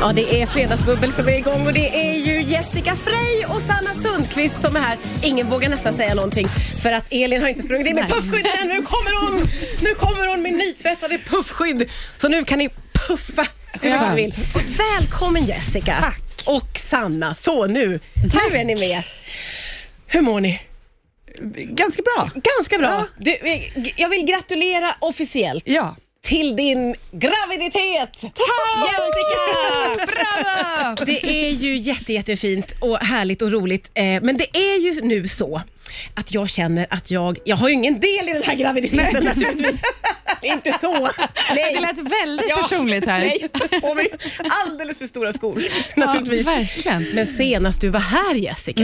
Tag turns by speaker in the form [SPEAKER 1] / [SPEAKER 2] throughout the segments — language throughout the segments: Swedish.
[SPEAKER 1] Ja, det är Fredagsbubbel som är igång och det är ju Jessica Frey och Sanna Sundqvist som är här. Ingen vågar nästan säga någonting för att Elin har inte sprungit in med puffskydden än. Nu kommer hon! Nu kommer hon med nytvättade puffskydd. Så nu kan ni puffa hur mycket ni vill. Och välkommen Jessica.
[SPEAKER 2] Tack.
[SPEAKER 1] Och Sanna. Så nu, nu är ni med. Hur mår ni?
[SPEAKER 2] Ganska bra.
[SPEAKER 1] Ganska bra.
[SPEAKER 2] Ja.
[SPEAKER 1] Du, eh, g- jag vill gratulera officiellt
[SPEAKER 2] Ja.
[SPEAKER 1] till din graviditet! Jessica! Bravo! Det är ju jätte, jättefint och härligt och roligt. Eh, Men det är ju nu så att jag känner att jag, jag har ju ingen del i den här graviditeten naturligtvis. Det är inte så. Nej.
[SPEAKER 3] Det lät väldigt
[SPEAKER 1] Ja,
[SPEAKER 3] personligt här.
[SPEAKER 1] Nej, jag tar på mig alldeles för stora skor naturligtvis.
[SPEAKER 3] Ja, verkligen.
[SPEAKER 1] Men senast du var här Jessica,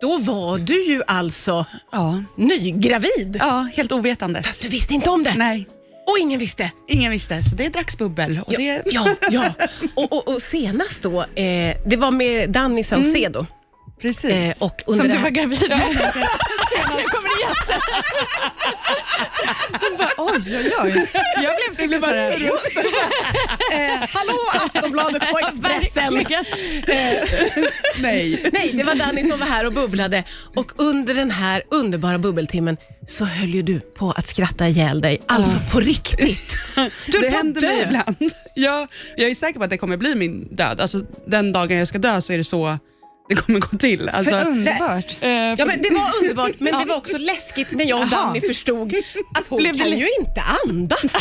[SPEAKER 1] då var du ju alltså
[SPEAKER 2] Ja.
[SPEAKER 1] nygravid.
[SPEAKER 2] ja, helt ovetandes.
[SPEAKER 1] Du visste inte om det
[SPEAKER 2] Nej,
[SPEAKER 1] och ingen visste.
[SPEAKER 2] ingen visste, så det dracks bubbel. Och
[SPEAKER 1] Ja,
[SPEAKER 2] det,
[SPEAKER 1] ja, ja. Och, och, och senast då, eh, det var med Danny Saucedo.
[SPEAKER 2] Precis.
[SPEAKER 1] Eh, och under det
[SPEAKER 3] Som du
[SPEAKER 1] här-
[SPEAKER 3] var gravid med. Nu kommer det jätte. Hon bara, oj, oj, oj. Jag blev förvirrad.
[SPEAKER 1] eh, Hallå Aftonbladet och Expressen! Eh,
[SPEAKER 3] Verkligen.
[SPEAKER 2] Nej.
[SPEAKER 1] Nej, det var Danny som var här och bubblade. Och under den här underbara bubbeltimmen så höll ju du på att skratta ihjäl dig. Alltså på riktigt. Du
[SPEAKER 2] det
[SPEAKER 1] var
[SPEAKER 2] händer mig
[SPEAKER 1] död.
[SPEAKER 2] ibland. Ja, jag är säker på att det kommer bli min död. Alltså, den dagen jag ska dö så är det så det kommer gå till. Alltså,
[SPEAKER 3] För underbart.
[SPEAKER 2] eh,
[SPEAKER 1] Ja,
[SPEAKER 2] för-
[SPEAKER 1] men det var underbart, men det var också läskigt när jag och
[SPEAKER 3] Jaha.
[SPEAKER 1] Danny förstod att hon
[SPEAKER 3] Blev det
[SPEAKER 1] kan
[SPEAKER 3] li-
[SPEAKER 1] ju inte andas.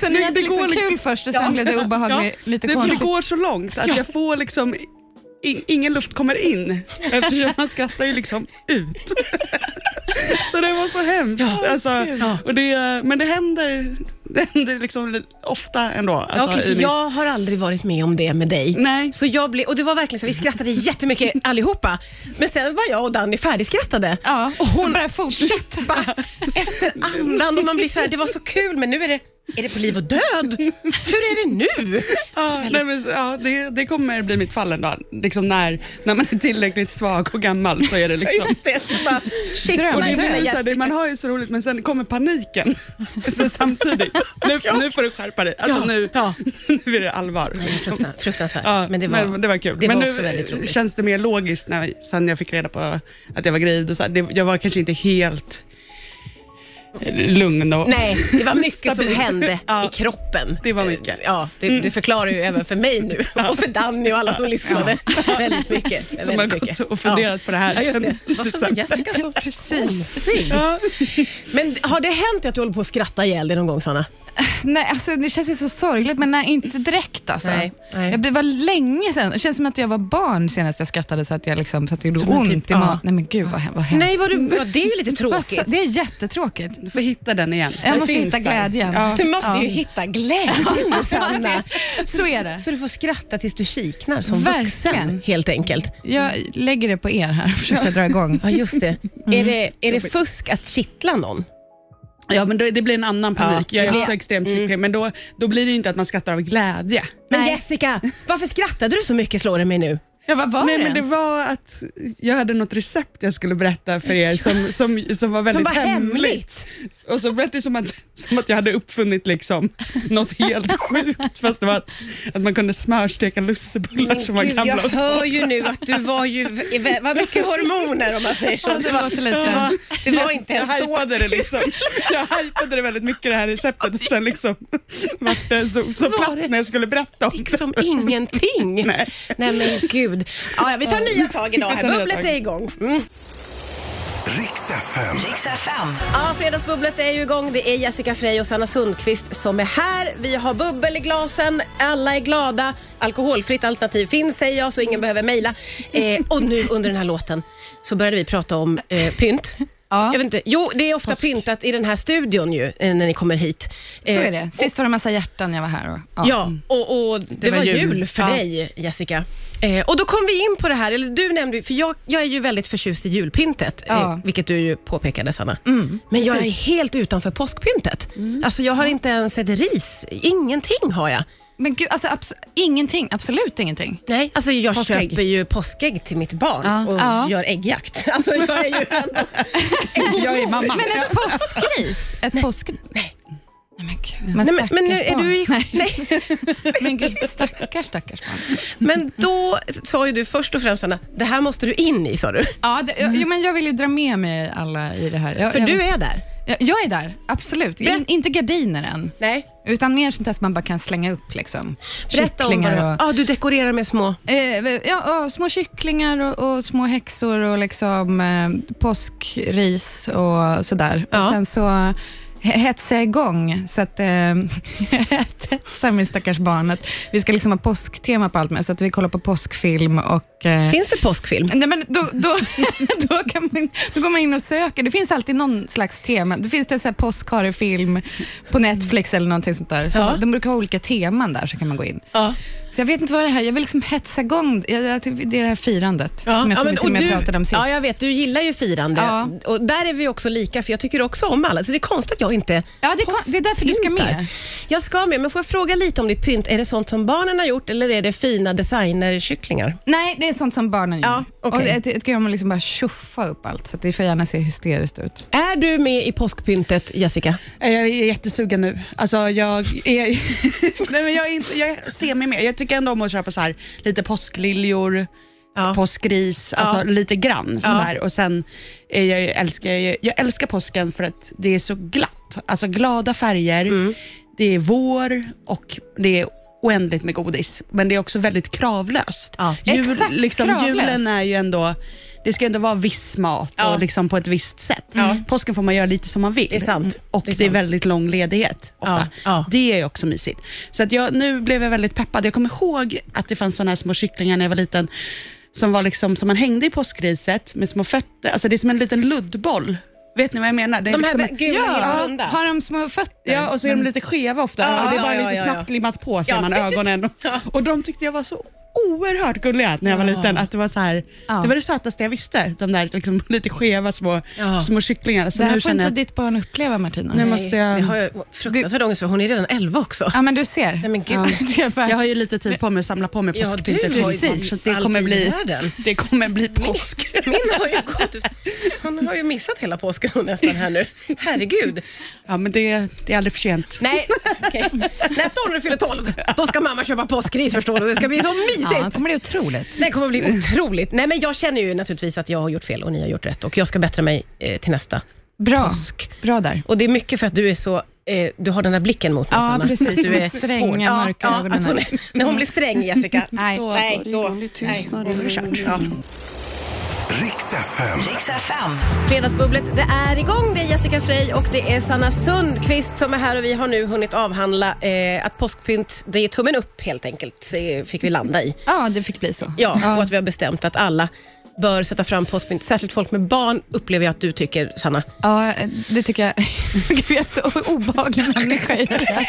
[SPEAKER 3] Så ni
[SPEAKER 2] det-
[SPEAKER 3] hade
[SPEAKER 2] det går
[SPEAKER 3] liksom
[SPEAKER 2] liksom-
[SPEAKER 3] kul först och sen blev det obehagligt, lite
[SPEAKER 2] det, det
[SPEAKER 3] konstigt.
[SPEAKER 2] går så långt att jag får liksom... i- ingen luft kommer in eftersom man skrattar ju liksom ut. Så det var så hemskt. alltså, och det, men det händer, det händer liksom ofta ändå. Alltså,
[SPEAKER 1] Okej,
[SPEAKER 2] i
[SPEAKER 1] för
[SPEAKER 2] min-
[SPEAKER 1] jag har aldrig varit med om det med dig.
[SPEAKER 2] Nej.
[SPEAKER 1] Så jag blev, och det var verkligen så, vi skrattade jättemycket allihopa. Men sen var jag och Danny färdigskrattade.
[SPEAKER 3] Ja,
[SPEAKER 1] Och hon
[SPEAKER 3] bara fortsätter.
[SPEAKER 1] bara efter andan och man blir så här, det var så kul men nu är det, är det på liv och död? Hur är det nu?
[SPEAKER 2] Ja, nej, men, så- ja, det, det kommer bli mitt fall en dag. Liksom när, när man är tillräckligt svag och gammal så är det liksom...
[SPEAKER 1] Just det, så bara, shit,
[SPEAKER 3] Dröm.
[SPEAKER 2] Och
[SPEAKER 1] vad
[SPEAKER 2] det
[SPEAKER 1] är
[SPEAKER 2] blir
[SPEAKER 1] det
[SPEAKER 2] så här, det,
[SPEAKER 1] Jessica?
[SPEAKER 2] man har ju så roligt men sen kommer paniken så samtidigt. Nu, nu får du skärpa dig. Alltså,
[SPEAKER 1] Ja,
[SPEAKER 2] nu,
[SPEAKER 1] ja.
[SPEAKER 2] nu är det allvar.
[SPEAKER 1] Fruktan- Fruktansvärt.
[SPEAKER 2] Ja,
[SPEAKER 1] men det var,
[SPEAKER 2] kul.
[SPEAKER 1] Det
[SPEAKER 2] men
[SPEAKER 1] var
[SPEAKER 2] nu
[SPEAKER 1] också väldigt roligt.
[SPEAKER 2] känns det mer logiskt när, sen jag fick reda på att jag var gravid. Och så här, det, jag var kanske inte helt lugn. Och,
[SPEAKER 1] Nej, det var mycket som
[SPEAKER 2] Stabil.
[SPEAKER 1] hände
[SPEAKER 2] Ja.
[SPEAKER 1] i kroppen.
[SPEAKER 2] Det var mycket. Mm.
[SPEAKER 1] Ja, det, det förklarar ju även för mig nu och för Danny och alla som lyssnade. Väldigt mycket. väldigt
[SPEAKER 2] har gått
[SPEAKER 1] mycket.
[SPEAKER 2] och funderat på det här
[SPEAKER 1] Ja, just det.
[SPEAKER 2] sen
[SPEAKER 1] Varför var
[SPEAKER 2] december.
[SPEAKER 1] Jessica så
[SPEAKER 3] Precis.
[SPEAKER 1] konstig?
[SPEAKER 2] Ja.
[SPEAKER 1] Men har det hänt att du håller på att skratta ihjäl dig någon gång, Sanna?
[SPEAKER 3] Nej, alltså, det känns ju så sorgligt, men nej, inte direkt. Alltså.
[SPEAKER 1] Nej, nej.
[SPEAKER 3] Jag blev, det var länge sedan. Det känns som att jag var barn senast jag skrattade, så att, jag liksom, så att det gjorde
[SPEAKER 1] Som en
[SPEAKER 3] ont
[SPEAKER 1] typ,
[SPEAKER 3] i
[SPEAKER 1] ja.
[SPEAKER 3] magen. Nej, men gud vad, hem- vad hemskt.
[SPEAKER 1] Nej, vad du, ja, det är ju lite
[SPEAKER 3] Vad
[SPEAKER 1] tråkigt.
[SPEAKER 3] sa- Det är jättetråkigt.
[SPEAKER 2] Du får hitta den igen.
[SPEAKER 3] Jag
[SPEAKER 2] Den
[SPEAKER 3] måste
[SPEAKER 2] finns
[SPEAKER 3] hitta
[SPEAKER 2] där.
[SPEAKER 3] glädjen.
[SPEAKER 2] Ja.
[SPEAKER 1] Du måste ju
[SPEAKER 3] Ja.
[SPEAKER 1] hitta glädjen nu, Sanna.
[SPEAKER 3] Så är det.
[SPEAKER 1] Så du får skratta tills du kiknar som vuxen
[SPEAKER 3] Verkligen.
[SPEAKER 1] helt enkelt.
[SPEAKER 3] Jag lägger det på er här och försöker dra igång.
[SPEAKER 1] Ja, just det. Är det, är det fusk att kittla någon?
[SPEAKER 2] Ja, men då, det blir en annan panik.
[SPEAKER 1] Ja, Mm. det
[SPEAKER 2] jag är
[SPEAKER 1] blir-
[SPEAKER 2] också extremt kittlig, men då, då blir det ju inte att man skrattar av glädje.
[SPEAKER 1] Men
[SPEAKER 3] Nej.
[SPEAKER 1] Jessica, varför skrattade du så mycket slår det mig nu?
[SPEAKER 3] Ja, vad var
[SPEAKER 2] Nej,
[SPEAKER 3] det
[SPEAKER 2] men det
[SPEAKER 3] ens?
[SPEAKER 2] var att jag hade något recept jag skulle berätta för er som, som, som var väldigt
[SPEAKER 1] var hemligt.
[SPEAKER 2] Och så berättade det som att, som att jag hade uppfunnit liksom något helt sjukt, fast det var att, att man kunde smörsteka lussebullar som var
[SPEAKER 1] Gud, jag
[SPEAKER 2] gamla och
[SPEAKER 1] hör ju nu att du var ju var mycket hormoner om man säger så.
[SPEAKER 3] det låter lite.
[SPEAKER 1] det var, det var inte
[SPEAKER 2] jag
[SPEAKER 1] ens så.
[SPEAKER 2] hypade det liksom. Jag hypade det väldigt mycket det här receptet och sen liksom vart det så, så
[SPEAKER 1] Var
[SPEAKER 2] platt
[SPEAKER 1] det-
[SPEAKER 2] när jag skulle berätta om det.
[SPEAKER 1] Liksom ingenting. Nej. men gud. Ja, ja, vi tar nya tag idag.
[SPEAKER 2] Vi
[SPEAKER 1] Här.
[SPEAKER 2] tar nya
[SPEAKER 1] Bubblet
[SPEAKER 2] tag.
[SPEAKER 1] är igång. Mm.
[SPEAKER 4] Riks FM.
[SPEAKER 1] Ja, fredagsbubblet är ju igång. Det är Jessica Frey och Sanna Sundqvist som är här. Vi har bubbel i glasen. Alla är glada. Alkoholfritt alternativ finns säger jag så ingen behöver mejla. Eh, och nu under den här låten så började vi prata om eh, pynt.
[SPEAKER 3] Ja.
[SPEAKER 1] Jag vet inte. Jo, det är ofta pyntat i den här studion ju eh, när ni kommer hit.
[SPEAKER 3] Så
[SPEAKER 1] Eh,
[SPEAKER 3] är det. Sist var det en massa hjärtan jag var här. Och,
[SPEAKER 1] Ja, och, och det, var,
[SPEAKER 2] var
[SPEAKER 1] jul,
[SPEAKER 2] jul.
[SPEAKER 1] för
[SPEAKER 2] Ja.
[SPEAKER 1] dig Jessica. Eh, och då kom vi in på det här, eller du nämnde för jag, jag är ju väldigt förtjust i julpyntet, eh,
[SPEAKER 3] Ja.
[SPEAKER 1] vilket du ju påpekade Sanna. Men jag är helt utanför påskpyntet. Alltså jag har inte ens ett ris, ingenting har jag.
[SPEAKER 3] Men gud, alltså, abs- ingenting. Absolut ingenting.
[SPEAKER 1] Nej, alltså jag
[SPEAKER 2] Påskägg.
[SPEAKER 1] köper ju påskägg till mitt barn
[SPEAKER 2] Ja.
[SPEAKER 1] och
[SPEAKER 3] Ja.
[SPEAKER 1] gör äggjakt. Alltså jag är ju ändå en god
[SPEAKER 2] Jag är
[SPEAKER 1] mor.
[SPEAKER 2] mamma.
[SPEAKER 3] Men ett påskris? Ett påskris?
[SPEAKER 1] Nej,
[SPEAKER 3] men gud. Men,
[SPEAKER 1] Nej, men, men nu är du i...
[SPEAKER 3] Nej.
[SPEAKER 1] Nej.
[SPEAKER 3] men gud, stackars, stackars barn.
[SPEAKER 1] Men då sa ju du först och främst, Anna, det här måste du in i, sa du.
[SPEAKER 3] Ja, det, jo, men jag vill ju dra med mig alla i det här. Jag,
[SPEAKER 1] För
[SPEAKER 3] jag,
[SPEAKER 1] du är där.
[SPEAKER 3] jag, jag är där, absolut. In,
[SPEAKER 1] Berätt-
[SPEAKER 3] inte gardiner än.
[SPEAKER 1] Nej.
[SPEAKER 3] Utan mer sånt där som man bara kan slänga upp. Liksom.
[SPEAKER 1] Berätta om vad
[SPEAKER 3] Kycklingar
[SPEAKER 1] det var.
[SPEAKER 3] och,
[SPEAKER 1] Ja, du dekorerar med små...
[SPEAKER 3] eh, ja, ja, små kycklingar och, och små häxor och liksom, eh, påskris och sådär.
[SPEAKER 1] Ja.
[SPEAKER 3] Och sen så he- hetsade jag igång, så att eh, jag hetsade min stackars barn att vi ska liksom ha påsktema på allt med, så att vi kollar på påskfilm och eh,
[SPEAKER 1] Finns det påskfilm?
[SPEAKER 3] Nej, men då, då, då, kan man, då går man in och söker. Det finns alltid någon slags tema. Det finns det så här påskharefilm på Netflix eller någonting sånt där. Så
[SPEAKER 1] Ja.
[SPEAKER 3] De brukar ha olika teman där, så kan man gå in.
[SPEAKER 1] Ja.
[SPEAKER 3] Så jag vet inte vad det här Jag vill liksom hetsa igång jag, jag, det är det här firandet som jag tror vi till och med
[SPEAKER 1] du,
[SPEAKER 3] pratade om sist.
[SPEAKER 1] Ja, jag vet. Du gillar ju firande.
[SPEAKER 3] Ja.
[SPEAKER 1] Och där är vi också lika, för jag tycker också om alla. Så det är konstigt att jag inte
[SPEAKER 3] Ja, det är kon- det är därför du ska med.
[SPEAKER 1] påspyntar. Jag ska med, men får jag fråga lite om ditt pynt? Är det sånt som barnen har gjort eller är det fina designerkycklingar?
[SPEAKER 3] Nej, det är sånt som barnen gör.
[SPEAKER 1] Ja, okej.
[SPEAKER 3] Och jag ty- jag tycker om att liksom bara tjuffa upp allt, så att det får gärna se hysteriskt ut.
[SPEAKER 1] Är du med i påskpyntet, Jessica?
[SPEAKER 2] Eh, Jag är jättesugen nu. Alltså, jag, är, nej, men jag, är inte, jag ser mig mer. Jag tycker ändå om att köpa så här, lite påskliljor,
[SPEAKER 1] Ja.
[SPEAKER 2] påskgris, alltså
[SPEAKER 1] Ja.
[SPEAKER 2] lite grann. Så
[SPEAKER 1] Ja.
[SPEAKER 2] där. Och sen är jag, ju- älskar jag, jag älskar påsken för att det är så glatt. Alltså glada färger, det är vår och det är oändligt med godis. Men det är också väldigt kravlöst.
[SPEAKER 1] Ja.
[SPEAKER 3] Exakt,
[SPEAKER 2] liksom,
[SPEAKER 3] kravlöst.
[SPEAKER 2] Julen är ju ändå, det ska ändå vara viss mat
[SPEAKER 1] Ja.
[SPEAKER 2] och liksom på ett visst sätt. Mm. Påsken får man göra lite som man vill. Mm.
[SPEAKER 1] Det är sant.
[SPEAKER 2] Och
[SPEAKER 1] Det är
[SPEAKER 2] det är,
[SPEAKER 1] sant.
[SPEAKER 2] väldigt lång ledighet ofta.
[SPEAKER 1] Ja, ja.
[SPEAKER 2] Det är också mysigt. Så att jag, nu blev jag väldigt peppad. Jag kommer ihåg att det fanns sådana här små kycklingar när jag var liten som var liksom som man hängde i påskriset med små fötter. Alltså det är som en liten luddboll. Vet ni vad jag menar? Det är
[SPEAKER 1] De här
[SPEAKER 2] liksom,
[SPEAKER 1] gula ja. runda?
[SPEAKER 3] Har de små fötter?
[SPEAKER 2] Ja, och så är de lite skeva ofta.
[SPEAKER 1] Ja,
[SPEAKER 2] och det är bara
[SPEAKER 1] ja, ja,
[SPEAKER 2] lite
[SPEAKER 1] ja, ja.
[SPEAKER 2] snabbt limmat på ser
[SPEAKER 1] Ja.
[SPEAKER 2] man ögonen. Och de tyckte jag var så oerhört gulliga när jag var liten. Att det var så här,
[SPEAKER 3] Ja.
[SPEAKER 2] det var det sötaste jag visste. De där liksom lite skeva små,
[SPEAKER 1] Ja.
[SPEAKER 2] små kycklingarna. Så
[SPEAKER 3] det här
[SPEAKER 2] nu
[SPEAKER 3] får
[SPEAKER 2] känner
[SPEAKER 3] inte
[SPEAKER 2] jag att
[SPEAKER 3] ditt barn uppleva, Martina.
[SPEAKER 2] nu måste
[SPEAKER 1] Det
[SPEAKER 2] jag...
[SPEAKER 1] har jag fruktansvärd ångest för. Hon är redan 11 också.
[SPEAKER 3] Ja, men du ser.
[SPEAKER 1] Nej, men gud.
[SPEAKER 3] Ja, det är bara-
[SPEAKER 2] Jag har ju lite tid på mig att samla på mig
[SPEAKER 1] Ja,
[SPEAKER 2] påskpyntet.
[SPEAKER 1] du har ju
[SPEAKER 2] precis. Så det
[SPEAKER 1] all
[SPEAKER 2] kommer,
[SPEAKER 1] tid i
[SPEAKER 2] bli,
[SPEAKER 1] världen.
[SPEAKER 2] det kommer bli påsk.
[SPEAKER 1] Min har ju gått. Hon har ju missat hela påsken hon nästan här nu. Herregud.
[SPEAKER 2] Ja, men det, det är aldrig för sent.
[SPEAKER 1] Nej, okej. Nästa år när du fyller 12, då ska mamma köpa påskris förstår du. Det ska bli så
[SPEAKER 3] ja,
[SPEAKER 1] mysigt.
[SPEAKER 3] kommer det otroligt.
[SPEAKER 1] Det kommer bli otroligt. Nej, men jag känner ju naturligtvis att jag har gjort fel och ni har gjort rätt och jag ska bättra mig eh, till nästa.
[SPEAKER 3] Bra.
[SPEAKER 1] Påsk.
[SPEAKER 3] Bra där.
[SPEAKER 1] Och det är mycket för att du är så eh, du har den där blicken mot mig
[SPEAKER 3] Ja,
[SPEAKER 1] Sanna.
[SPEAKER 3] precis.
[SPEAKER 1] Att
[SPEAKER 3] Du är
[SPEAKER 1] hård.
[SPEAKER 3] stränga,
[SPEAKER 1] Ja,
[SPEAKER 3] mörka
[SPEAKER 1] ja,
[SPEAKER 3] ögonen
[SPEAKER 1] att hon
[SPEAKER 3] här.
[SPEAKER 1] är, När hon blir sträng, Jessica.
[SPEAKER 3] Nej.
[SPEAKER 1] Nej, då. Nej. Ja.
[SPEAKER 4] Riks FM.
[SPEAKER 1] Fredagsbubblet, det är igång. Det är Jessica Frey och det är Sanna Sundqvist som är här och vi har nu hunnit avhandla eh, att påskpynt, det är tummen upp helt enkelt, eh, fick vi landa i.
[SPEAKER 3] Ja, det fick bli så.
[SPEAKER 1] Ja, och att vi har bestämt att alla bör sätta fram påskpynt. Särskilt folk med barn upplever jag att du tycker, Sanna.
[SPEAKER 3] Ja, det tycker jag. Gud, jag är så obehaglig människa i det här.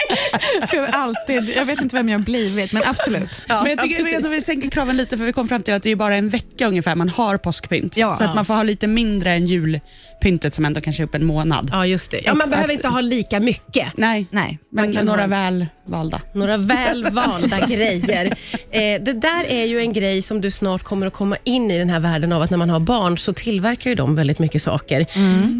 [SPEAKER 3] För alltid. Jag vet inte vem jag har blivit, men absolut.
[SPEAKER 2] Men jag tycker ändå vi sänker kraven lite för vi kom fram till att det är ju bara en vecka ungefär man har påskpynt.
[SPEAKER 3] Ja.
[SPEAKER 2] Så att man får ha lite mindre än julpyntet som ändå kanske är upp en månad.
[SPEAKER 1] Ja, just det. Ja, man
[SPEAKER 2] Exakt.
[SPEAKER 1] behöver inte ha lika mycket.
[SPEAKER 2] Nej,
[SPEAKER 3] Nej,
[SPEAKER 2] men
[SPEAKER 1] man kan
[SPEAKER 2] några
[SPEAKER 1] ha-
[SPEAKER 2] väl valda.
[SPEAKER 1] Några väl valda grejer. Eh, det där är ju en grej som du snart kommer att komma in i den här världen av att när man har barn så tillverkar ju de väldigt mycket saker.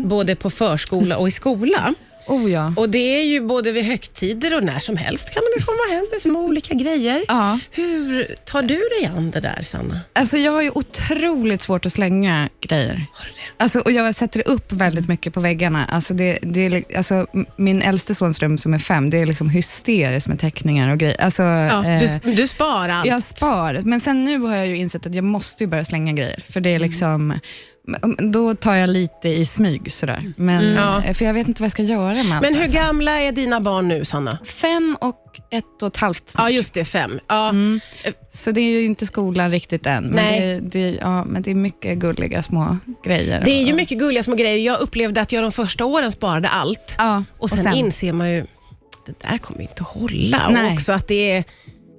[SPEAKER 1] Både på förskola och i skola.
[SPEAKER 3] Oh ja.
[SPEAKER 1] Och det är ju både vid högtider och när som helst kan de ju komma hem med små olika grejer.
[SPEAKER 3] Ja.
[SPEAKER 1] Hur tar du dig an det där, Sanna?
[SPEAKER 3] Alltså, jag har ju otroligt svårt att slänga grejer.
[SPEAKER 1] Har du det?
[SPEAKER 3] Alltså, och jag sätter upp
[SPEAKER 1] Mm.
[SPEAKER 3] väldigt mycket på väggarna. Alltså, det, det är, li- alltså, m- min äldste sons rum som är fem, det är liksom hysteriskt med teckningar och grejer. Alltså,
[SPEAKER 1] Ja,
[SPEAKER 3] eh,
[SPEAKER 1] du, du sparar allt.
[SPEAKER 3] Jag spar, men sen nu har jag ju insett att jag måste ju börja slänga grejer. För det är
[SPEAKER 1] Mm.
[SPEAKER 3] liksom, då tar jag lite i smyg sådär. Men,
[SPEAKER 1] Mm. Ja.
[SPEAKER 3] eh, För jag vet inte vad jag ska göra med allt.
[SPEAKER 1] Men hur
[SPEAKER 3] alltså.
[SPEAKER 1] gamla är dina barn nu, Sanna?
[SPEAKER 3] Fem och ett och ett halvt snart.
[SPEAKER 1] Ja, just det, fem. Ja.
[SPEAKER 3] Så det är ju inte skolan riktigt än. Men,
[SPEAKER 1] Nej.
[SPEAKER 3] Det, det, ja, men det är mycket gulliga små grejer.
[SPEAKER 1] Det är ju mycket gulliga små grejer. Jag upplevde att jag de första åren sparade allt.
[SPEAKER 3] Ja,
[SPEAKER 1] Och sen, inser man ju, det där kommer ju inte att hålla. Och
[SPEAKER 3] Nej.
[SPEAKER 1] också att det är,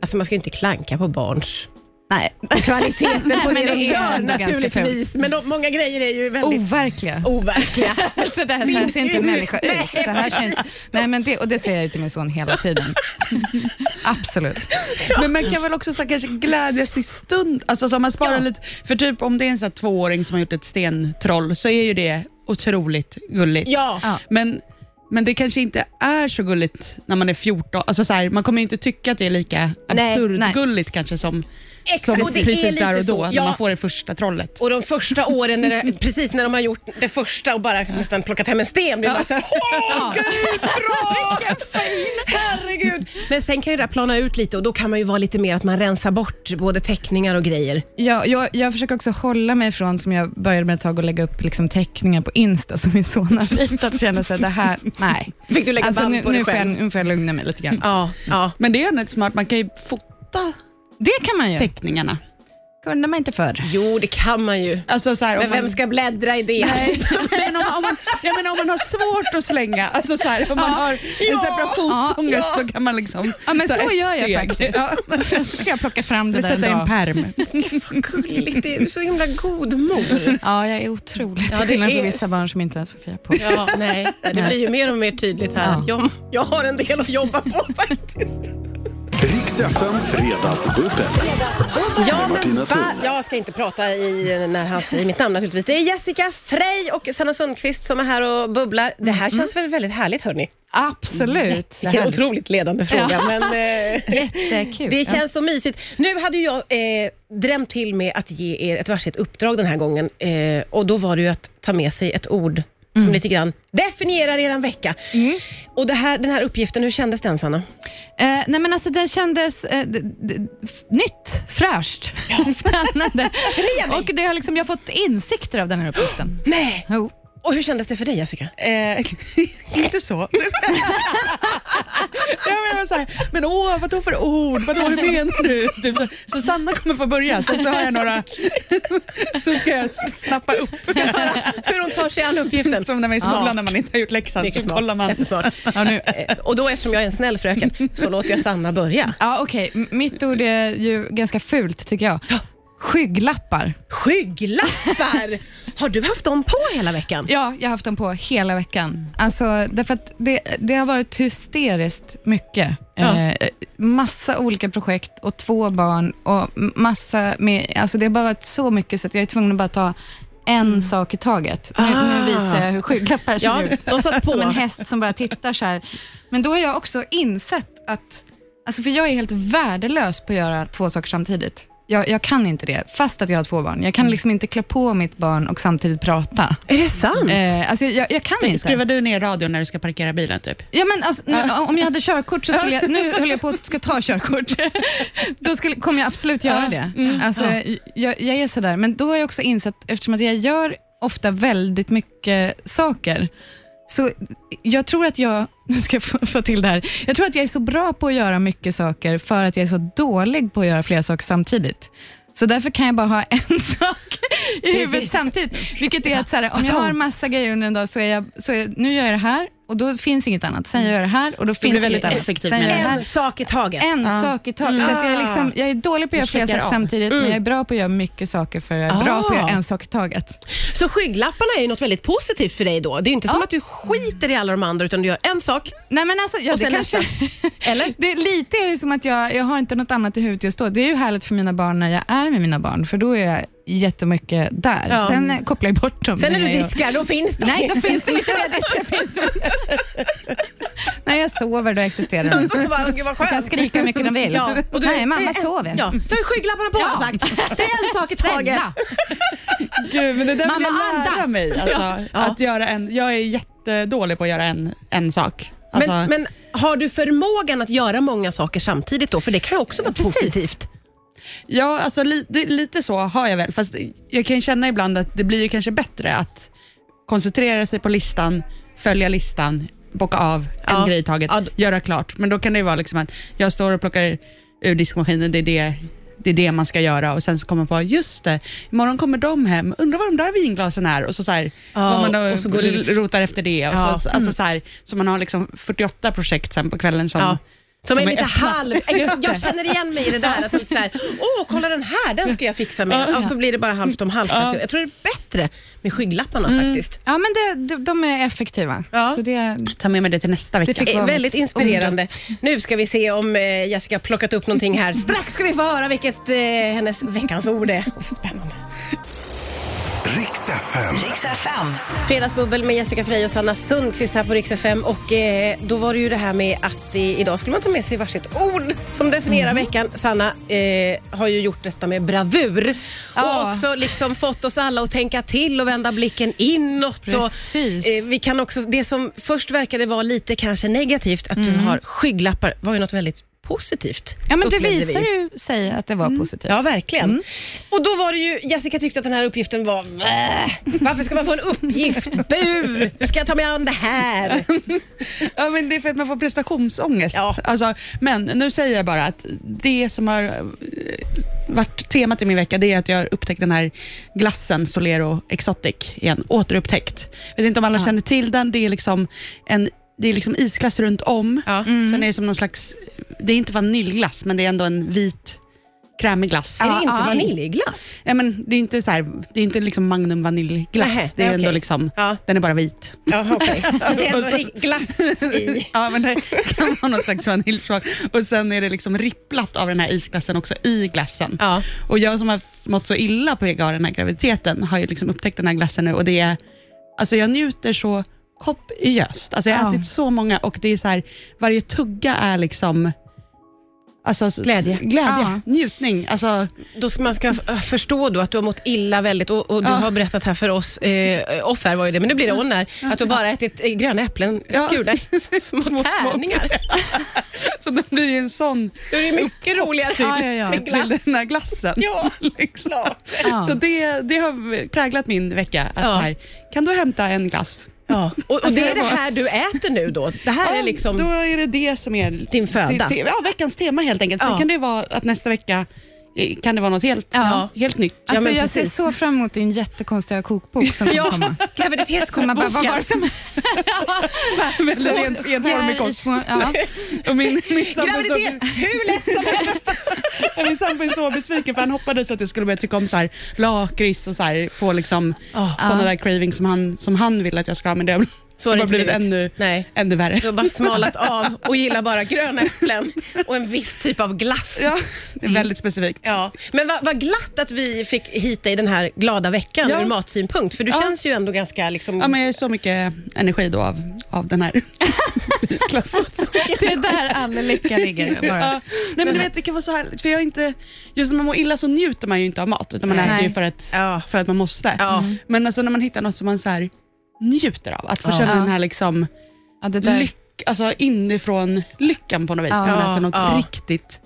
[SPEAKER 1] alltså man ska ju inte klanka på barns
[SPEAKER 3] Nej.
[SPEAKER 1] kvaliteten
[SPEAKER 3] Nej,
[SPEAKER 1] på
[SPEAKER 3] men
[SPEAKER 1] det,
[SPEAKER 3] det
[SPEAKER 1] de
[SPEAKER 3] är
[SPEAKER 1] gör
[SPEAKER 3] ändå ganska
[SPEAKER 1] naturligtvis. Oh. Men de, många grejer är ju väldigt
[SPEAKER 3] Overkliga.
[SPEAKER 1] overkliga.
[SPEAKER 3] Alltså det här, så här
[SPEAKER 1] Finns
[SPEAKER 3] ser
[SPEAKER 1] ju
[SPEAKER 3] inte en
[SPEAKER 1] nu.
[SPEAKER 3] människa
[SPEAKER 1] Nej,
[SPEAKER 3] ut. Så här ser inte, nej, men det, och det säger jag ju till min son hela tiden. Absolut.
[SPEAKER 2] Men man kan väl också så här, kanske glädjas i stund. Alltså så man sparar lite. För typ om det är en så här, tvååring som har gjort ett stentroll så är ju det otroligt gulligt.
[SPEAKER 1] Ja.
[SPEAKER 3] Ja.
[SPEAKER 2] Men Men det kanske inte är så gulligt när man är 14. Alltså så här, man kommer ju inte tycka att det är lika
[SPEAKER 1] Nej,
[SPEAKER 2] absurt
[SPEAKER 3] nej.
[SPEAKER 2] gulligt kanske som,
[SPEAKER 1] Exakt,
[SPEAKER 2] som
[SPEAKER 1] och det är
[SPEAKER 2] precis
[SPEAKER 1] lite
[SPEAKER 2] där och då,
[SPEAKER 1] så, ja.
[SPEAKER 2] när man får det första trollet.
[SPEAKER 1] Och de första åren, när det, precis när de har gjort det första och bara nästan plockat hem en sten, blir man såhär Åh gud, bra! Herregud! Men sen kan ju det där plana ut lite och då kan man ju vara lite mer att man rensar bort både teckningar och grejer.
[SPEAKER 3] Jag, jag, jag försöker också hålla mig från, som jag började med ett tag, att lägga upp liksom teckningar på Insta som min son har ritat. Känner sig det här, nej.
[SPEAKER 1] Fick du lägga
[SPEAKER 3] Alltså,
[SPEAKER 1] band
[SPEAKER 3] nu,
[SPEAKER 1] på dig
[SPEAKER 3] nu, får jag,
[SPEAKER 1] själv?
[SPEAKER 3] nu får jag lugna mig lite grann.
[SPEAKER 1] Ja, ja.
[SPEAKER 2] Men det är ju rätt smart, man kan ju fota
[SPEAKER 3] Det kan man ju.
[SPEAKER 2] teckningarna.
[SPEAKER 3] kunde man inte förr.
[SPEAKER 1] Jo, det kan man ju.
[SPEAKER 2] Alltså så här, om
[SPEAKER 1] Men vem
[SPEAKER 2] man-
[SPEAKER 1] ska bläddra i det?
[SPEAKER 2] Nej, men om, om man, jag menar om man har svårt att slänga, alltså så här, om man har en separationsångest så kan man liksom
[SPEAKER 3] Ja, men
[SPEAKER 2] ta
[SPEAKER 3] så
[SPEAKER 2] ett
[SPEAKER 3] gör jag
[SPEAKER 2] steg.
[SPEAKER 3] faktiskt.
[SPEAKER 2] Ja.
[SPEAKER 3] Så ska jag plocka fram det
[SPEAKER 2] Eller
[SPEAKER 3] där en
[SPEAKER 2] sätta i en
[SPEAKER 3] dag.
[SPEAKER 2] pärm.
[SPEAKER 1] Gulligt, det är du så himla god mor.
[SPEAKER 3] Ja, jag är otroligt
[SPEAKER 1] Ja,
[SPEAKER 3] till
[SPEAKER 1] det
[SPEAKER 3] skillnad
[SPEAKER 1] är-
[SPEAKER 3] från vissa barn som inte ens får fira på.
[SPEAKER 1] Ja, nej. Det blir ju mer och mer tydligt här
[SPEAKER 3] Ja.
[SPEAKER 1] att jag, jag har en del att jobba på faktiskt.
[SPEAKER 4] Riks FM Fredagsbubbel.
[SPEAKER 1] Ja, men
[SPEAKER 4] Martina
[SPEAKER 1] va?
[SPEAKER 4] Thun.
[SPEAKER 1] Jag ska inte prata i, när han säger mitt namn naturligtvis. Det är Jessica Frey och Sanna Sundqvist som är här och bubblar. Det här känns väl väldigt härligt hörni?
[SPEAKER 3] Absolut.
[SPEAKER 1] Vilken otroligt ledande fråga.
[SPEAKER 3] Ja.
[SPEAKER 1] Men, eh,
[SPEAKER 3] Jättekul.
[SPEAKER 1] det känns så mysigt. Nu hade ju jag eh, drämt till med att ge er ett varsitt uppdrag den här gången eh, och då var det ju att ta med sig ett ord som lite grann definierar er vecka. Och det här, den här uppgiften, hur kändes den Sanna?
[SPEAKER 3] Eh, nej men alltså den kändes eh, d- d- f- nytt, fräscht, spännande. Och det har liksom, jag har fått insikter av den här uppgiften.
[SPEAKER 1] Nej.
[SPEAKER 3] Jo.
[SPEAKER 1] Och hur kändes det för dig Jessica?
[SPEAKER 2] Eh, inte så. jag menar så här, men åh, vad då för ord? Vad hur menar du? Typ, så- så Sanna kommer få börja, sen så har jag några... så ska jag s- snappa upp.
[SPEAKER 1] hur hon tar sig an uppgiften.
[SPEAKER 2] Som när man är i
[SPEAKER 1] Smart.
[SPEAKER 2] skolan när man inte har gjort läxan så
[SPEAKER 1] Mycket smart.
[SPEAKER 2] kollar man.
[SPEAKER 1] Jättesmart.
[SPEAKER 3] Ja, nu.
[SPEAKER 1] Eh, Och då eftersom jag är en snäll fröken så låter jag Sanna börja.
[SPEAKER 3] Ja, okej. M- Mitt ord är ju ganska fult tycker jag. Skygglappar.
[SPEAKER 1] Skygglappar! Har du haft dem på hela veckan?
[SPEAKER 3] Ja, jag har haft dem på hela veckan. Alltså, därför att det, det har varit hysteriskt mycket.
[SPEAKER 1] Ja.
[SPEAKER 3] Eh, massa olika projekt och två barn och m- massa med, alltså det har bara varit så mycket så att jag är tvungen att bara ta en sak i taget. Nu,
[SPEAKER 1] Mm. Ah.
[SPEAKER 3] nu visar jag hur skygglappar ser
[SPEAKER 1] Ja,
[SPEAKER 3] ut.
[SPEAKER 1] de satt på.
[SPEAKER 3] Som en häst som bara tittar så här. Men då har jag också insett att, alltså för jag är helt värdelös på att göra två saker samtidigt. Jag, jag kan inte det, fast att jag har två barn. Jag
[SPEAKER 1] Mm.
[SPEAKER 3] kan liksom inte klä på mitt barn och samtidigt prata.
[SPEAKER 1] Är det sant?
[SPEAKER 3] Eh, alltså jag, jag kan inte.
[SPEAKER 2] Skruvar du ner radion när du ska parkera bilen typ?
[SPEAKER 3] Ja, men alltså, nu, om jag hade körkort så skulle jag, nu höll jag på att ska ta körkort, då skulle, kommer jag absolut göra det. Alltså, jag, jag är sådär, men då har jag också insett, eftersom att jag gör ofta väldigt mycket saker, så jag tror att jag, nu ska jag få, få till det här, jag tror att jag är så bra på att göra mycket saker för att jag är så dålig på att göra flera saker samtidigt. Så därför kan jag bara ha en sak i huvudet samtidigt. Vilket är att så här, om jag har massa grejer under en dag så är jag, så är, nu gör jag det här och då finns inget annat. Sen gör jag det här och då finns
[SPEAKER 2] blir väldigt
[SPEAKER 3] inget annat.
[SPEAKER 2] effektivt
[SPEAKER 3] Sen
[SPEAKER 2] med
[SPEAKER 3] gör jag det här.
[SPEAKER 1] en sak i taget.
[SPEAKER 3] En sak i taget. Så att jag, är liksom, jag är dålig på att göra flera
[SPEAKER 2] checkar
[SPEAKER 3] saker
[SPEAKER 2] av.
[SPEAKER 3] samtidigt, men jag är bra på att göra mycket saker för jag är bra på att göra en sak i taget.
[SPEAKER 1] Så skygglapparna är ju något väldigt positivt för dig då. Det är ju inte som
[SPEAKER 3] Ja.
[SPEAKER 1] att du skiter i alla de andra utan du gör en sak.
[SPEAKER 3] Nej men alltså, ja,
[SPEAKER 1] Och
[SPEAKER 3] det
[SPEAKER 1] sen
[SPEAKER 3] kanske...
[SPEAKER 1] Eller?
[SPEAKER 3] Det, är lite är det som att jag, jag har inte något annat i huvudet just då. Det är ju härligt för mina barn när jag är med mina barn, för då är jag jättemycket där.
[SPEAKER 1] Ja.
[SPEAKER 3] Sen eh, kopplar jag bort dem.
[SPEAKER 1] Sen när
[SPEAKER 3] när
[SPEAKER 1] du
[SPEAKER 3] jag-
[SPEAKER 1] diskar, då finns det.
[SPEAKER 3] Nej, då finns det inte. När jag diskar finns det inte. När jag sover, då existerar de inte.
[SPEAKER 1] Och så bara, gud vad
[SPEAKER 3] De kan
[SPEAKER 1] skönt.
[SPEAKER 3] skrika hur mycket de vill.
[SPEAKER 1] Ja, och du-
[SPEAKER 3] Nej,
[SPEAKER 1] det
[SPEAKER 3] mamma
[SPEAKER 1] är en-
[SPEAKER 3] sover.
[SPEAKER 1] Ja, du har ju skygglapparna på har jag sagt. Det är en sak i taget.
[SPEAKER 3] Snälla.
[SPEAKER 2] Gud, men det där vill
[SPEAKER 3] Mamma,
[SPEAKER 2] jag lära
[SPEAKER 3] andas!
[SPEAKER 2] mig. Alltså, Att göra en, jag är jättedålig på att göra en, en sak. Alltså,
[SPEAKER 1] Men, men har du förmågan att göra många saker samtidigt då? För det kan ju också vara
[SPEAKER 3] Precis.
[SPEAKER 1] positivt.
[SPEAKER 2] Ja, alltså, li, det, lite så har jag väl. Fast jag kan ju känna ibland att det blir ju kanske bättre att koncentrera sig på listan, följa listan, bocka av
[SPEAKER 1] Ja.
[SPEAKER 2] en grej i taget,
[SPEAKER 1] Ja, d-
[SPEAKER 2] göra klart. Men då kan det ju vara liksom att jag står och plockar ur diskmaskinen, det är det, det är det man ska göra och sen så kommer man på, just det, imorgon kommer de hem, undrar vad de där vinglasen är och så, så här,
[SPEAKER 1] Ja,
[SPEAKER 2] går man och,
[SPEAKER 1] och så går det-
[SPEAKER 2] rotar efter det. Och
[SPEAKER 1] Ja.
[SPEAKER 2] så, alltså, så, här, så man har liksom 48 projekt sen på kvällen som
[SPEAKER 1] Ja. Som, är lite
[SPEAKER 2] öppna.
[SPEAKER 1] halv... Jag känner igen mig i det där att lite så här, åh kolla den här, den ska jag fixa med. Och så blir det bara halvt om halvt. Jag tror det är bättre med skygglapparna faktiskt.
[SPEAKER 3] Ja, men det, de, de är effektiva.
[SPEAKER 1] Ja.
[SPEAKER 3] Så det,
[SPEAKER 2] Ta med mig det till nästa vecka.
[SPEAKER 3] Det fick-
[SPEAKER 1] Eh,
[SPEAKER 3] var
[SPEAKER 1] Väldigt
[SPEAKER 3] mitt
[SPEAKER 1] inspirerande. Nu ska vi se om eh, Jessica har plockat upp någonting här. Strax ska vi få höra vilket eh, hennes veckans ord är. Oh, spännande.
[SPEAKER 4] Riks FM.
[SPEAKER 5] Riks FM.
[SPEAKER 1] Fredagsbubbel med Jessica Frey och Sanna Sundqvist här på Rix FM. Och eh, då var det ju det här med att i, idag skulle man ta med sig varsitt ord som definierar
[SPEAKER 3] Mm.
[SPEAKER 1] veckan. Sanna eh, har ju gjort detta med bravur och
[SPEAKER 3] Ja.
[SPEAKER 1] också liksom fått oss alla att tänka till och vända blicken inåt.
[SPEAKER 3] Precis.
[SPEAKER 1] Och, eh, vi kan också, det som först verkade vara lite kanske negativt, att du har skygglappar, var ju något väldigt positivt.
[SPEAKER 3] Mm. Ja, men det
[SPEAKER 1] upplevde vi. Mm.
[SPEAKER 3] visar ju sig att det var positivt.
[SPEAKER 1] Ja, verkligen.
[SPEAKER 2] Mm.
[SPEAKER 1] Och då var det ju, Jessica tyckte att den här uppgiften var "Bäh, Varför ska man få en uppgift? Bu! Hur ska jag ta mig an det här?
[SPEAKER 2] Ja, men det är för att man får prestationsångest.
[SPEAKER 1] Ja.
[SPEAKER 2] Alltså, men nu säger jag bara att det som har eh, varit temat i min vecka, det är att jag har upptäckt den här glassen Solero Exotic igen, återupptäckt. Jag vet inte om alla känner till den, det är liksom en det är liksom isglass runt om.
[SPEAKER 1] Ja. Mm.
[SPEAKER 2] Sen är det som någon slags, det är inte vaniljglass, men det är ändå en vit krämig glass.
[SPEAKER 1] är det inte
[SPEAKER 3] ja.
[SPEAKER 1] vaniljglass?
[SPEAKER 2] Ja, men det är inte, så här, det är inte liksom Magnum vaniljglass,
[SPEAKER 1] Nähä,
[SPEAKER 2] det är ändå
[SPEAKER 1] okej.
[SPEAKER 2] liksom,
[SPEAKER 1] Ja.
[SPEAKER 2] den är bara vit.
[SPEAKER 1] Ja, okej. Det är ändå ri- glass i.
[SPEAKER 2] Alltså- Ja, men det kan vara någon slags vaniljsmak. Och sen är det liksom ripplat av den här isglassen också i glassen.
[SPEAKER 1] Ja.
[SPEAKER 2] Och jag som har haft, mått så illa på grund av den här graviditeten har ju liksom upptäckt den här glassen nu och det är, alltså jag njuter så kopiöst. Alltså jag har
[SPEAKER 3] Ja.
[SPEAKER 2] ätit så många och det är så här, varje tugga är liksom Alltså,
[SPEAKER 1] Glädje.
[SPEAKER 2] glädje,
[SPEAKER 3] Ja.
[SPEAKER 2] njutning. Alltså,
[SPEAKER 1] Då ska man ska f- förstå då att du har mått illa väldigt och, och du
[SPEAKER 2] Ja.
[SPEAKER 1] har berättat här för oss, eh, off här var ju det, men nu blir det on här, att du bara ätit eh, gröna äpplen
[SPEAKER 2] Ja.
[SPEAKER 1] skurna i små
[SPEAKER 2] små.
[SPEAKER 1] tärningar.
[SPEAKER 2] så det blir ju en sån
[SPEAKER 1] Då är det mycket roligare
[SPEAKER 3] Ja, ja, ja.
[SPEAKER 1] med
[SPEAKER 2] till
[SPEAKER 1] glass.
[SPEAKER 2] den här glassen.
[SPEAKER 1] Ja,
[SPEAKER 2] liksom.
[SPEAKER 1] klart.
[SPEAKER 3] Ja.
[SPEAKER 2] Så det, det har präglat min vecka. Att
[SPEAKER 1] Ja.
[SPEAKER 2] här, kan du hämta en glass?
[SPEAKER 1] Ja. Och, och det är
[SPEAKER 2] det
[SPEAKER 1] det
[SPEAKER 2] var-
[SPEAKER 1] här du äter nu då? Det här är liksom...
[SPEAKER 2] Då är det det som är
[SPEAKER 1] Din föda.
[SPEAKER 2] te- te- ja, veckans tema helt enkelt. Sen
[SPEAKER 1] Ja.
[SPEAKER 2] kan det vara att nästa vecka eh, kan det vara något helt,
[SPEAKER 3] Ja.
[SPEAKER 2] helt nytt.
[SPEAKER 1] Ja,
[SPEAKER 3] Alltså,
[SPEAKER 1] men
[SPEAKER 3] jag ser
[SPEAKER 1] precis.
[SPEAKER 3] så fram emot din jättekonstiga kokbok som kommer
[SPEAKER 1] Ja,
[SPEAKER 3] komma. Som man bara, vad var det som...
[SPEAKER 2] Väldigt alltså, en, enformig
[SPEAKER 3] Här i
[SPEAKER 2] kost.
[SPEAKER 3] små- ja.
[SPEAKER 2] Och min, min sambo så,
[SPEAKER 1] Graviditet, hur lätt som helst.
[SPEAKER 2] min sambo är så besviken för han hoppades att jag skulle börja tycka om så här, lakrits och så här, få liksom,
[SPEAKER 1] Oh.
[SPEAKER 2] sådana där cravings som han, som han vill att jag ska ha. Men det har,
[SPEAKER 1] Så har det
[SPEAKER 2] bara
[SPEAKER 1] inte
[SPEAKER 2] blivit
[SPEAKER 1] blivit.
[SPEAKER 2] ännu,
[SPEAKER 1] Nej.
[SPEAKER 2] ännu värre.
[SPEAKER 1] Du har bara smalat av och gillar bara gröna äpplen och en viss typ av glass.
[SPEAKER 2] Ja,
[SPEAKER 1] Mm.
[SPEAKER 2] det är väldigt specifikt.
[SPEAKER 1] Ja. Men vad vad glatt att vi fick hit dig den här glada veckan
[SPEAKER 2] Ja.
[SPEAKER 1] ur matsynpunkt. För du känns ju ändå ganska liksom...
[SPEAKER 2] Ja, men jag har så mycket energi då av, av den här isglassen.
[SPEAKER 3] Det är där all lycka ligger. Bara.
[SPEAKER 2] Ja. Nej, men du vet, det kan vara så här, för jag är inte, just när man mår illa så njuter man ju inte av mat, utan man
[SPEAKER 3] Nej.
[SPEAKER 2] äter ju för att,
[SPEAKER 1] Ja.
[SPEAKER 2] för att man måste.
[SPEAKER 1] Ja.
[SPEAKER 2] Men alltså, när man hittar något som man så här, njuter av, att få
[SPEAKER 1] Ja.
[SPEAKER 2] känna
[SPEAKER 3] Ja.
[SPEAKER 2] den här liksom,
[SPEAKER 3] Ja, det där.
[SPEAKER 2] lyck, alltså, inifrån lyckan på något vis,
[SPEAKER 3] Ja.
[SPEAKER 2] när man äter något
[SPEAKER 1] Ja.
[SPEAKER 2] riktigt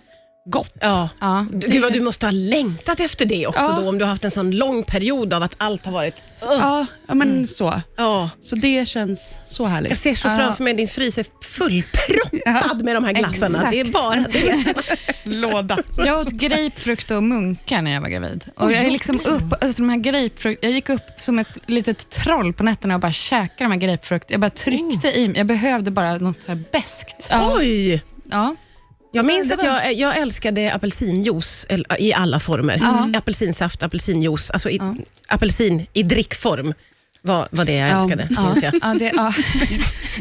[SPEAKER 2] gott.
[SPEAKER 1] Ja.
[SPEAKER 3] Ja.
[SPEAKER 1] Du, gud vad du måste ha längtat efter det också
[SPEAKER 2] Ja.
[SPEAKER 1] då, om du har haft en sån lång period av att allt har varit...
[SPEAKER 2] Ja, ja, men så.
[SPEAKER 1] Ja.
[SPEAKER 2] Så det känns så
[SPEAKER 1] Jag
[SPEAKER 2] härligt.
[SPEAKER 1] ser så framför mig din frys är fullproppad med de här glassarna.
[SPEAKER 3] Exakt.
[SPEAKER 1] Det är bara det.
[SPEAKER 2] Låda.
[SPEAKER 3] Jag åt grapefrukt och munkar när jag var gravid. Och jag, är liksom upp, alltså de här grapefrukt, jag gick upp som ett litet troll på nätterna och bara käkade de här grapefrukt. Jag bara tryckte i mig. Jag behövde bara något så här beskt.
[SPEAKER 1] Oj!
[SPEAKER 3] Ja.
[SPEAKER 1] Jag minns att jag, jag älskade apelsinjuice eller, i alla former. Mm. Apelsinsaft, apelsinjuice, alltså i, apelsin i drickform var, var det jag älskade.
[SPEAKER 3] Ja.
[SPEAKER 1] Minns jag.
[SPEAKER 3] Ja, det, ja.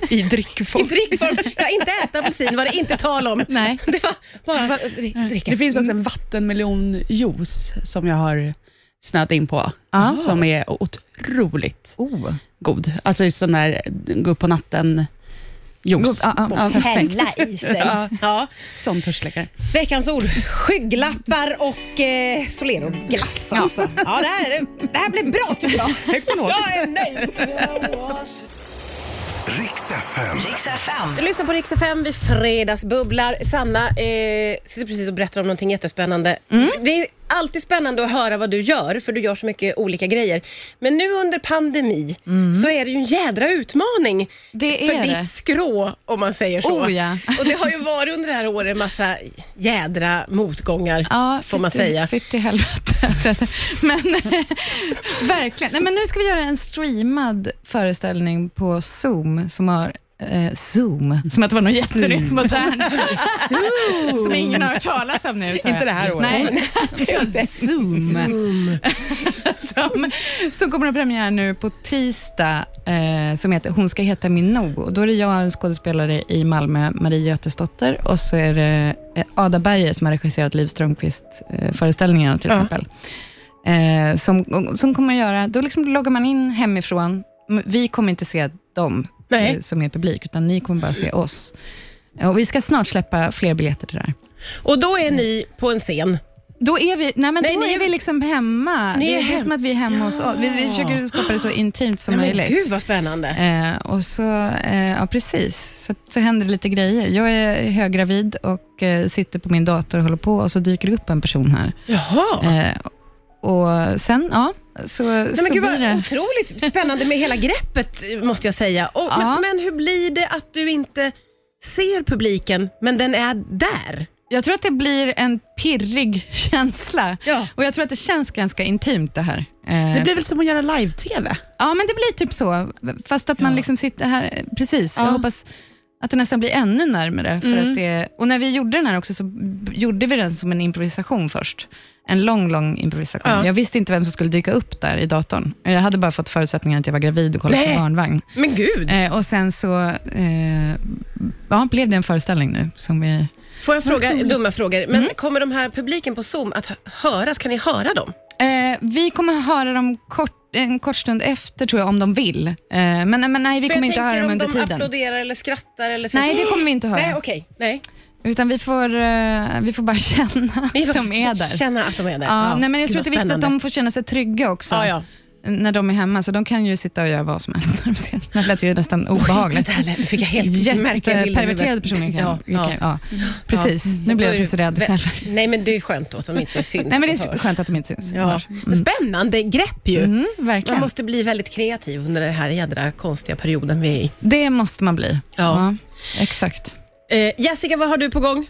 [SPEAKER 2] I drickform.
[SPEAKER 1] Drickform, jag inte äta apelsin var det inte tal om.
[SPEAKER 3] Nej.
[SPEAKER 1] Det var bara dri- dricka.
[SPEAKER 2] Det finns också en vattenmelonjuice som jag har snöat in på,
[SPEAKER 3] Ah.
[SPEAKER 2] som är otroligt
[SPEAKER 3] Oh.
[SPEAKER 2] god. Alltså just sån där gå upp på natten
[SPEAKER 3] God,
[SPEAKER 2] juice.
[SPEAKER 3] ja,
[SPEAKER 1] ah,
[SPEAKER 3] ja, perfekt.
[SPEAKER 1] Hälla i sig.
[SPEAKER 2] Ja.
[SPEAKER 1] Ja.
[SPEAKER 2] Som törstsläckare.
[SPEAKER 1] Veckans ord, skygglappar och eh, Solero-glass.
[SPEAKER 3] Ja.
[SPEAKER 1] Alltså. Ja, det, här, det här blev bra tycker jag.
[SPEAKER 2] Högt och lågt.
[SPEAKER 1] Jag är nöjd.
[SPEAKER 4] Riks FM.
[SPEAKER 5] Riks FM.
[SPEAKER 1] Du lyssnar på Rix FM, vi fredagsbubblar. Sanna eh, sitter precis och berättar om någonting jättespännande.
[SPEAKER 3] Mm.
[SPEAKER 1] Det är alltid spännande att höra vad du gör, för du gör så mycket olika grejer. Men nu under pandemi så är det ju en jädra utmaning
[SPEAKER 3] Mm. Det
[SPEAKER 1] för
[SPEAKER 3] är
[SPEAKER 1] ditt
[SPEAKER 3] det.
[SPEAKER 1] skrå, om man säger så.
[SPEAKER 3] Oh, ja.
[SPEAKER 1] och det har ju varit under det här året en massa jädra motgångar,
[SPEAKER 3] Ja,
[SPEAKER 1] får man
[SPEAKER 3] fytt i-
[SPEAKER 1] säga.
[SPEAKER 3] Fytt i helvete. Men eh, verkligen. Nej, men nu ska vi göra en streamad föreställning på Zoom som har Eh, Zoom, som att det var något jättenytt modernt. som ingen har hört talas om nu. sa jag.
[SPEAKER 2] Inte det här året.
[SPEAKER 3] Nej, alltså, Zoom. som, som kommer att premiär nu på tisdag, eh, som heter Hon ska heta min No. Och då är det jag, en skådespelare i Malmö, Marie Götesdotter, och så är det eh, Ada Berger som har regisserat Liv Strömquist-föreställningarna till
[SPEAKER 1] Ja.
[SPEAKER 3] exempel. eh, som, som kommer att göra, då liksom loggar man in hemifrån. M- Vi kommer inte se dem
[SPEAKER 1] Nej.
[SPEAKER 3] eh, som är publik, utan ni kommer bara se oss. Eh, Och vi ska snart släppa fler biljetter till det här.
[SPEAKER 1] Och då är ni på en scen.
[SPEAKER 3] Då är vi, nej men
[SPEAKER 1] Nej,
[SPEAKER 3] då
[SPEAKER 1] ni
[SPEAKER 3] är
[SPEAKER 1] är-
[SPEAKER 3] vi liksom hemma.
[SPEAKER 1] Ni
[SPEAKER 3] det
[SPEAKER 1] är
[SPEAKER 3] är, det
[SPEAKER 1] hem-
[SPEAKER 3] som att vi är hemma hos oss. Vi, vi försöker skapa det så intimt som
[SPEAKER 1] Nej, men
[SPEAKER 3] möjligt.
[SPEAKER 1] gud vad spännande.
[SPEAKER 3] Eh, och så, eh, ja precis, så, så händer det lite grejer. Jag är höggravid och eh, sitter på min dator och håller på och så dyker det upp en person här.
[SPEAKER 1] Jaha.
[SPEAKER 3] Eh, och sen, ja, så,
[SPEAKER 1] Nej, men
[SPEAKER 3] så
[SPEAKER 1] gud
[SPEAKER 3] blir
[SPEAKER 1] vad
[SPEAKER 3] det.
[SPEAKER 1] otroligt spännande med hela greppet eh, måste jag säga. Och, men,
[SPEAKER 3] Ja.
[SPEAKER 1] men hur blir det att du inte ser publiken men den är där?
[SPEAKER 3] Jag tror att det blir en pirrig känsla.
[SPEAKER 1] Ja.
[SPEAKER 3] Och jag tror att det känns ganska intimt det här. Eh,
[SPEAKER 2] Det blir väl som att göra live-tv?
[SPEAKER 3] Ja, men det blir typ så. Fast att man liksom sitter här, eh, precis. Jag hoppas att det nästan blir ännu närmare. För
[SPEAKER 1] Mm.
[SPEAKER 3] att det, och när vi gjorde den här också så b- gjorde vi den som en improvisation först. En lång, lång improvisation.
[SPEAKER 1] Ja.
[SPEAKER 3] Jag visste inte vem som skulle dyka upp där i datorn. Jag hade bara fått förutsättningen att jag var gravid och kollade
[SPEAKER 1] Nej.
[SPEAKER 3] på barnvagn.
[SPEAKER 1] Men gud,
[SPEAKER 3] Eh, och sen så eh, ja, blev det en föreställning nu. Som vi,
[SPEAKER 1] får jag fråga dumma frågor? Men
[SPEAKER 3] Mm.
[SPEAKER 1] kommer de här publiken på Zoom att hö- höras? Kan ni höra dem?
[SPEAKER 3] eh, vi kommer höra dem kort, en kort stund efter tror jag, om de vill. Eh, men, men nej, vi
[SPEAKER 1] För jag
[SPEAKER 3] kommer inte höra
[SPEAKER 1] tänker
[SPEAKER 3] dem
[SPEAKER 1] om
[SPEAKER 3] under
[SPEAKER 1] de
[SPEAKER 3] tiden.
[SPEAKER 1] applåderar eller skrattar eller säger
[SPEAKER 3] Nej, det kommer vi inte höra.
[SPEAKER 1] Nej, okej. Nej.
[SPEAKER 3] Utan vi får, eh, vi får bara känna
[SPEAKER 1] Ni
[SPEAKER 3] att de är där.
[SPEAKER 1] Känna att de är där.
[SPEAKER 3] Ja, nej, men jag
[SPEAKER 1] Gud,
[SPEAKER 3] tror att
[SPEAKER 1] vad
[SPEAKER 3] det är viktigt att
[SPEAKER 1] spännande.
[SPEAKER 3] de får känna sig trygga också
[SPEAKER 1] Ja, ja.
[SPEAKER 3] när de är hemma, så de kan ju sitta och göra vad som helst när de ser. Det lät ju nästan
[SPEAKER 1] Obehagligt.
[SPEAKER 3] obehagligt.
[SPEAKER 1] Det här lät- nu fick jag helt märkliga bilder i
[SPEAKER 3] Jätteperverterade
[SPEAKER 1] huvudet.
[SPEAKER 3] personer kan,
[SPEAKER 1] Ja, ja.
[SPEAKER 3] kan ja. Precis, nu
[SPEAKER 1] Mm.
[SPEAKER 3] blev jag
[SPEAKER 1] Då är
[SPEAKER 3] precis
[SPEAKER 1] det-
[SPEAKER 3] rädd själv.
[SPEAKER 1] Nej, men det är skönt då att de inte syns
[SPEAKER 3] Nej, men det
[SPEAKER 1] och
[SPEAKER 3] är
[SPEAKER 1] hörs.
[SPEAKER 3] skönt att de inte syns.
[SPEAKER 1] Ja. Spännande grepp ju.
[SPEAKER 3] Mm,
[SPEAKER 1] Man
[SPEAKER 3] verkligen,
[SPEAKER 1] måste bli väldigt kreativ under den här jädra konstiga perioden vi är i.
[SPEAKER 3] det måste man bli.
[SPEAKER 1] Ja.
[SPEAKER 3] Ja. Exakt.
[SPEAKER 1] Eh, Jessica, vad har du på gång?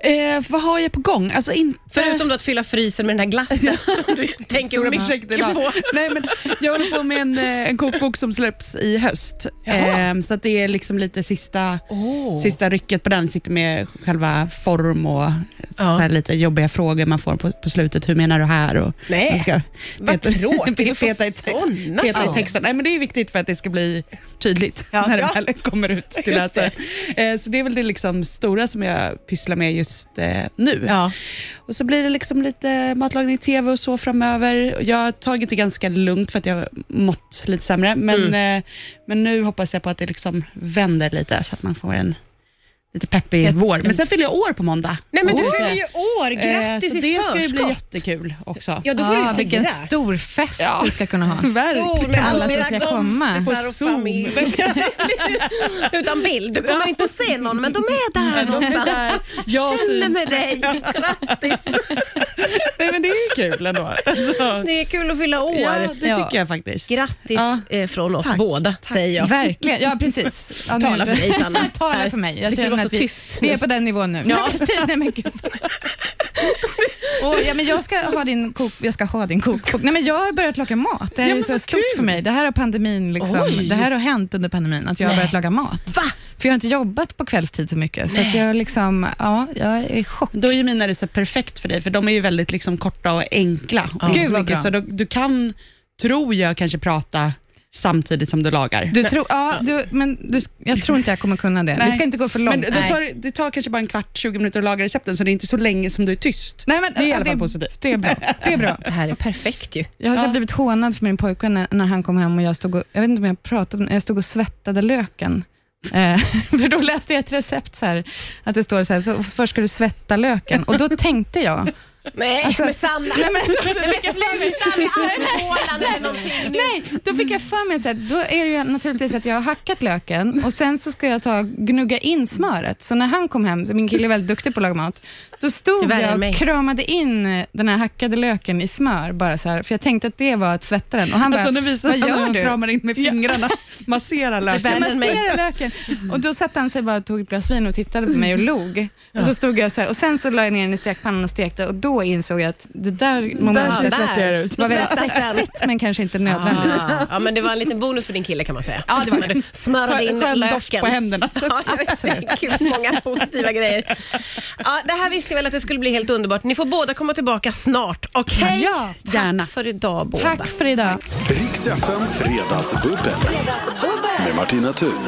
[SPEAKER 2] Eh, vad har jag på gång? Alltså inte...
[SPEAKER 1] Förutom då att fylla frysen med den här glassen som du tänker
[SPEAKER 2] Stora
[SPEAKER 1] mycket
[SPEAKER 2] projektet
[SPEAKER 1] på.
[SPEAKER 2] idag. Nej, men jag håller på med en, eh, en kokbok som släpps i höst.
[SPEAKER 1] Jaha.
[SPEAKER 2] Ehm, så att det är liksom lite sista,
[SPEAKER 1] Åh.
[SPEAKER 2] sista rycket på den. Sitter med själva form och så
[SPEAKER 1] Ja.
[SPEAKER 2] här lite jobbiga frågor man får på, på slutet. Hur menar du här? Och
[SPEAKER 1] Nej,
[SPEAKER 2] man ska
[SPEAKER 1] vad tråkigt att få
[SPEAKER 2] peta i, te-
[SPEAKER 1] såna
[SPEAKER 2] peta i
[SPEAKER 1] frågor.
[SPEAKER 2] texten. Nej, men det är viktigt för att det ska bli tydligt
[SPEAKER 1] Ja.
[SPEAKER 2] när
[SPEAKER 1] Ja.
[SPEAKER 2] det väl kommer ut till
[SPEAKER 1] Just
[SPEAKER 2] läsaren. Eh, så det är väl det liksom stora som jag pysslar med just eh, nu.
[SPEAKER 1] Ja.
[SPEAKER 2] Och så blir det liksom lite matlagning i tv och så framöver. Jag har tagit det ganska lugnt för att jag har mått lite sämre, men,
[SPEAKER 1] Mm.
[SPEAKER 2] eh, men nu hoppas jag på att det liksom vänder lite så att man får en lite peppig vår. Men sen fyller jag år på måndag.
[SPEAKER 1] Nej, men du
[SPEAKER 2] Så-
[SPEAKER 1] fyller ju år. Grattis
[SPEAKER 2] eh, Så
[SPEAKER 1] i
[SPEAKER 2] det
[SPEAKER 1] förskott.
[SPEAKER 2] ska ju bli jättekul också.
[SPEAKER 1] Ja, då får
[SPEAKER 3] Ah,
[SPEAKER 1] du ju
[SPEAKER 3] vilken
[SPEAKER 1] fira.
[SPEAKER 3] stor fest du ska kunna ha.
[SPEAKER 1] Stor
[SPEAKER 2] Verkligen.
[SPEAKER 1] med
[SPEAKER 3] alla som
[SPEAKER 1] dina
[SPEAKER 3] ska komma.
[SPEAKER 1] kompisar
[SPEAKER 2] På
[SPEAKER 1] och
[SPEAKER 2] Zoom.
[SPEAKER 1] familj. Utan bild. Du kommer inte att se någon, men de är där
[SPEAKER 2] De är
[SPEAKER 1] någonstans.
[SPEAKER 2] där. Jag
[SPEAKER 1] Känner
[SPEAKER 2] syns.
[SPEAKER 1] med dig. Grattis.
[SPEAKER 2] Nej, men det är ju kul ändå. Alltså,
[SPEAKER 1] Det är kul att fylla år.
[SPEAKER 2] ja, det tycker
[SPEAKER 3] Ja.
[SPEAKER 2] jag faktiskt.
[SPEAKER 1] Grattis
[SPEAKER 2] Ja.
[SPEAKER 1] eh, från oss
[SPEAKER 2] Tack.
[SPEAKER 1] båda, säger jag.
[SPEAKER 3] Verkligen, ja precis. Ja, nu-
[SPEAKER 1] Tala för dig, Sanna.
[SPEAKER 3] Tala för mig.
[SPEAKER 1] Jag tycker du var
[SPEAKER 3] känner
[SPEAKER 1] så
[SPEAKER 3] att vi,
[SPEAKER 1] tyst.
[SPEAKER 3] Vi är på den nivån nu. Ja. precis. Nej, men gud. Och, ja, men jag ska ha din kok, jag ska ha din kokbok. Nej, men jag har börjat laga mat. Det här
[SPEAKER 2] Ja,
[SPEAKER 3] är
[SPEAKER 2] men
[SPEAKER 3] så
[SPEAKER 2] vad
[SPEAKER 3] stort
[SPEAKER 2] kul.
[SPEAKER 3] för mig. Det här har pandemin liksom,
[SPEAKER 1] Oj.
[SPEAKER 3] det här har hänt under pandemin, att jag har börjat laga mat.
[SPEAKER 1] Va?
[SPEAKER 3] För jag har inte jobbat på kvällstid så mycket, så att jag liksom, ja, jag är i chock.
[SPEAKER 2] Då är ju mina recept perfekt för dig, för de är ju väldigt liksom, korta och enkla. Och
[SPEAKER 3] Gud,
[SPEAKER 2] så
[SPEAKER 3] vad
[SPEAKER 2] mycket,
[SPEAKER 3] bra.
[SPEAKER 2] Så du, du kan, tror jag, kanske prata samtidigt som du lagar.
[SPEAKER 3] Du tror, ja, du, men du, jag tror inte jag kommer kunna det.
[SPEAKER 2] Nej.
[SPEAKER 3] Det ska inte gå för långt.
[SPEAKER 2] Men det
[SPEAKER 3] Nej.
[SPEAKER 2] tar, det tar kanske bara en kvart, 20 minuter att laga recepten, så det är inte så länge som du är tyst.
[SPEAKER 3] Nej, men,
[SPEAKER 2] det är i
[SPEAKER 3] ja,
[SPEAKER 2] alla fall positivt.
[SPEAKER 3] Det är bra. Det är bra.
[SPEAKER 1] Det här är perfekt ju.
[SPEAKER 3] Jag har så här blivit hånad för min pojkvän när, när han kom hem och jag stod och, jag vet inte om jag pratade, men jag stod och svettade löken. Eh, för då läste jag ett recept så här, att det står så här, så först ska du svetta löken. Och då tänkte jag,
[SPEAKER 1] Nej,
[SPEAKER 3] Alltså-
[SPEAKER 1] men Sanna.
[SPEAKER 3] nej, men,
[SPEAKER 1] Men sluta med alkoholen eller någonting nu.
[SPEAKER 3] nej, då fick jag för mig så här, då är det ju naturligtvis att jag har hackat löken och sen så ska jag ta gnugga in smöret. Så när han kom hem, så min kille är väldigt duktig på att laga mat, då
[SPEAKER 1] Det
[SPEAKER 3] stod
[SPEAKER 1] är värre
[SPEAKER 3] jag
[SPEAKER 1] än mig.
[SPEAKER 3] och kramade in den här hackade löken i smör, bara så här, för jag tänkte att det var att svetta den. Och han bara,
[SPEAKER 2] Alltså, nu visar
[SPEAKER 3] vad
[SPEAKER 2] han hur
[SPEAKER 3] gör
[SPEAKER 2] han
[SPEAKER 3] du?
[SPEAKER 2] kramar in med fingrarna, masserar
[SPEAKER 1] värre
[SPEAKER 2] löken.
[SPEAKER 1] än
[SPEAKER 3] Jag
[SPEAKER 1] mig.
[SPEAKER 3] masserade löken. Och då satt han sig bara och tog ett glas vin och tittade på mig och log. Och så stod jag så här och sen så la jag ner den i stekpannan och stekte och då insåg jag att det där
[SPEAKER 1] där.
[SPEAKER 3] momentet var väldigt
[SPEAKER 1] Svettas den.
[SPEAKER 3] sexigt men kanske inte nödvändigt.
[SPEAKER 1] Ah, ja, men det var en liten bonus för din kille kan man säga.
[SPEAKER 3] Ja, det var det.
[SPEAKER 1] Smörade in
[SPEAKER 2] Skön, skön doft
[SPEAKER 1] löken.
[SPEAKER 2] på händerna. Så.
[SPEAKER 1] Ja, jag vet. Gud, många positiva grejer. Ja, det här visste jag väl att det skulle bli helt underbart. Ni får båda komma tillbaka snart. Okej?
[SPEAKER 3] Ja,
[SPEAKER 1] Tack
[SPEAKER 2] gärna.
[SPEAKER 1] för idag båda.
[SPEAKER 3] Tack för idag.
[SPEAKER 4] Riks FM Fredagsbubbel med Martina Thun.